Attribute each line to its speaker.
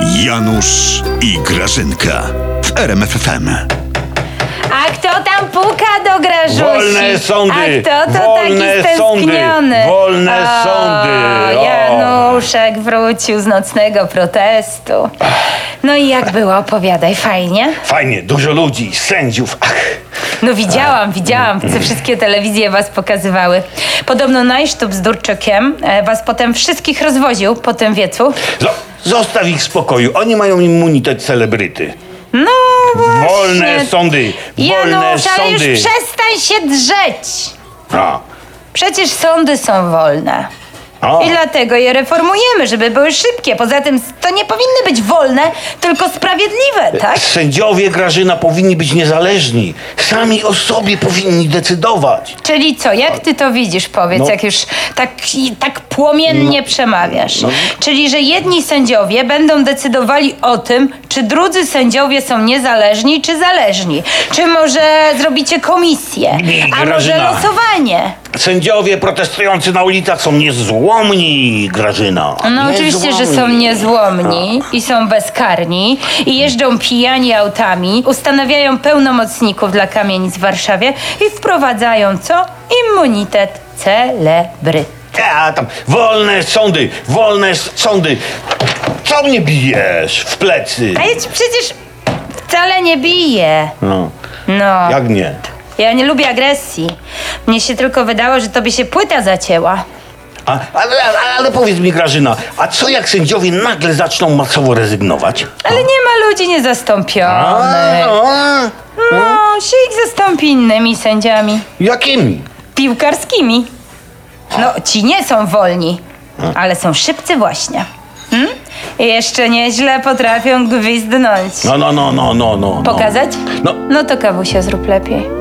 Speaker 1: Janusz i Grażynka w RMFFM.
Speaker 2: A kto tam puka do Grażusi?
Speaker 3: Wolne sądy!
Speaker 2: A kto to
Speaker 3: Wolne
Speaker 2: taki stęskniony?
Speaker 3: sądy! Wolne
Speaker 2: o,
Speaker 3: sądy! O!
Speaker 2: Januszek wrócił z nocnego protestu. No i jak było? Opowiadaj, fajnie?
Speaker 3: Fajnie, dużo ludzi, sędziów. Ach,
Speaker 2: No widziałam, widziałam, co wszystkie telewizje was pokazywały. Podobno Najsztub z Durczykiem e, was potem wszystkich rozwoził po tym wiecu.
Speaker 3: zo- zostaw ich w spokoju. Oni mają immunitet celebryty.
Speaker 2: No właśnie.
Speaker 3: Wolne sądy! Wolne
Speaker 2: Janusz, ale już
Speaker 3: sądy!
Speaker 2: przestań się drzeć!
Speaker 3: A,
Speaker 2: Przecież sądy są wolne.
Speaker 3: O.
Speaker 2: I dlatego je reformujemy, żeby były szybkie. Poza tym to nie powinny być wolne, tylko sprawiedliwe, tak?
Speaker 3: Sędziowie Grażyna powinni być niezależni. Sami o sobie powinni decydować.
Speaker 2: Czyli co, jak ty to widzisz, powiedz,
Speaker 3: No.
Speaker 2: jak już tak, i tak płomiennie przemawiasz?
Speaker 3: No.
Speaker 2: Czyli, że jedni sędziowie będą decydowali o tym, czy drudzy sędziowie są niezależni, czy zależni. Czy może zrobicie komisję,
Speaker 3: Nie,
Speaker 2: a może
Speaker 3: Grażyna.
Speaker 2: losowanie?
Speaker 3: Sędziowie protestujący na ulicach są niezłomni, Grażyna.
Speaker 2: No oczywiście, że są
Speaker 3: Niezłomni.
Speaker 2: niezłomni i są bezkarni i jeżdżą pijani autami, ustanawiają pełnomocników dla kamienic w Warszawie i wprowadzają co? Immunitet celebryt.
Speaker 3: Ja tam, wolne sądy, wolne s- sądy. Co mnie bijesz w plecy?
Speaker 2: A ja ci przecież wcale nie biję.
Speaker 3: No,
Speaker 2: No,
Speaker 3: jak nie?
Speaker 2: ja nie lubię agresji. Mnie się tylko wydało, że tobie się płyta zacięła.
Speaker 3: A, ale, ale, ale powiedz mi, Grażyna, a co jak sędziowie nagle zaczną masowo rezygnować?
Speaker 2: Ale nie ma ludzi niezastąpionych.
Speaker 3: a,
Speaker 2: No, się ich zastąpi innymi sędziami.
Speaker 3: jakimi?
Speaker 2: piłkarskimi. No, ci nie są wolni, ale są szybcy właśnie. Hmm? I Jeszcze nieźle potrafią gwizdnąć.
Speaker 3: No, no, no, no, no, no.
Speaker 2: Pokazać?
Speaker 3: No.
Speaker 2: No to kawusia zrób lepiej.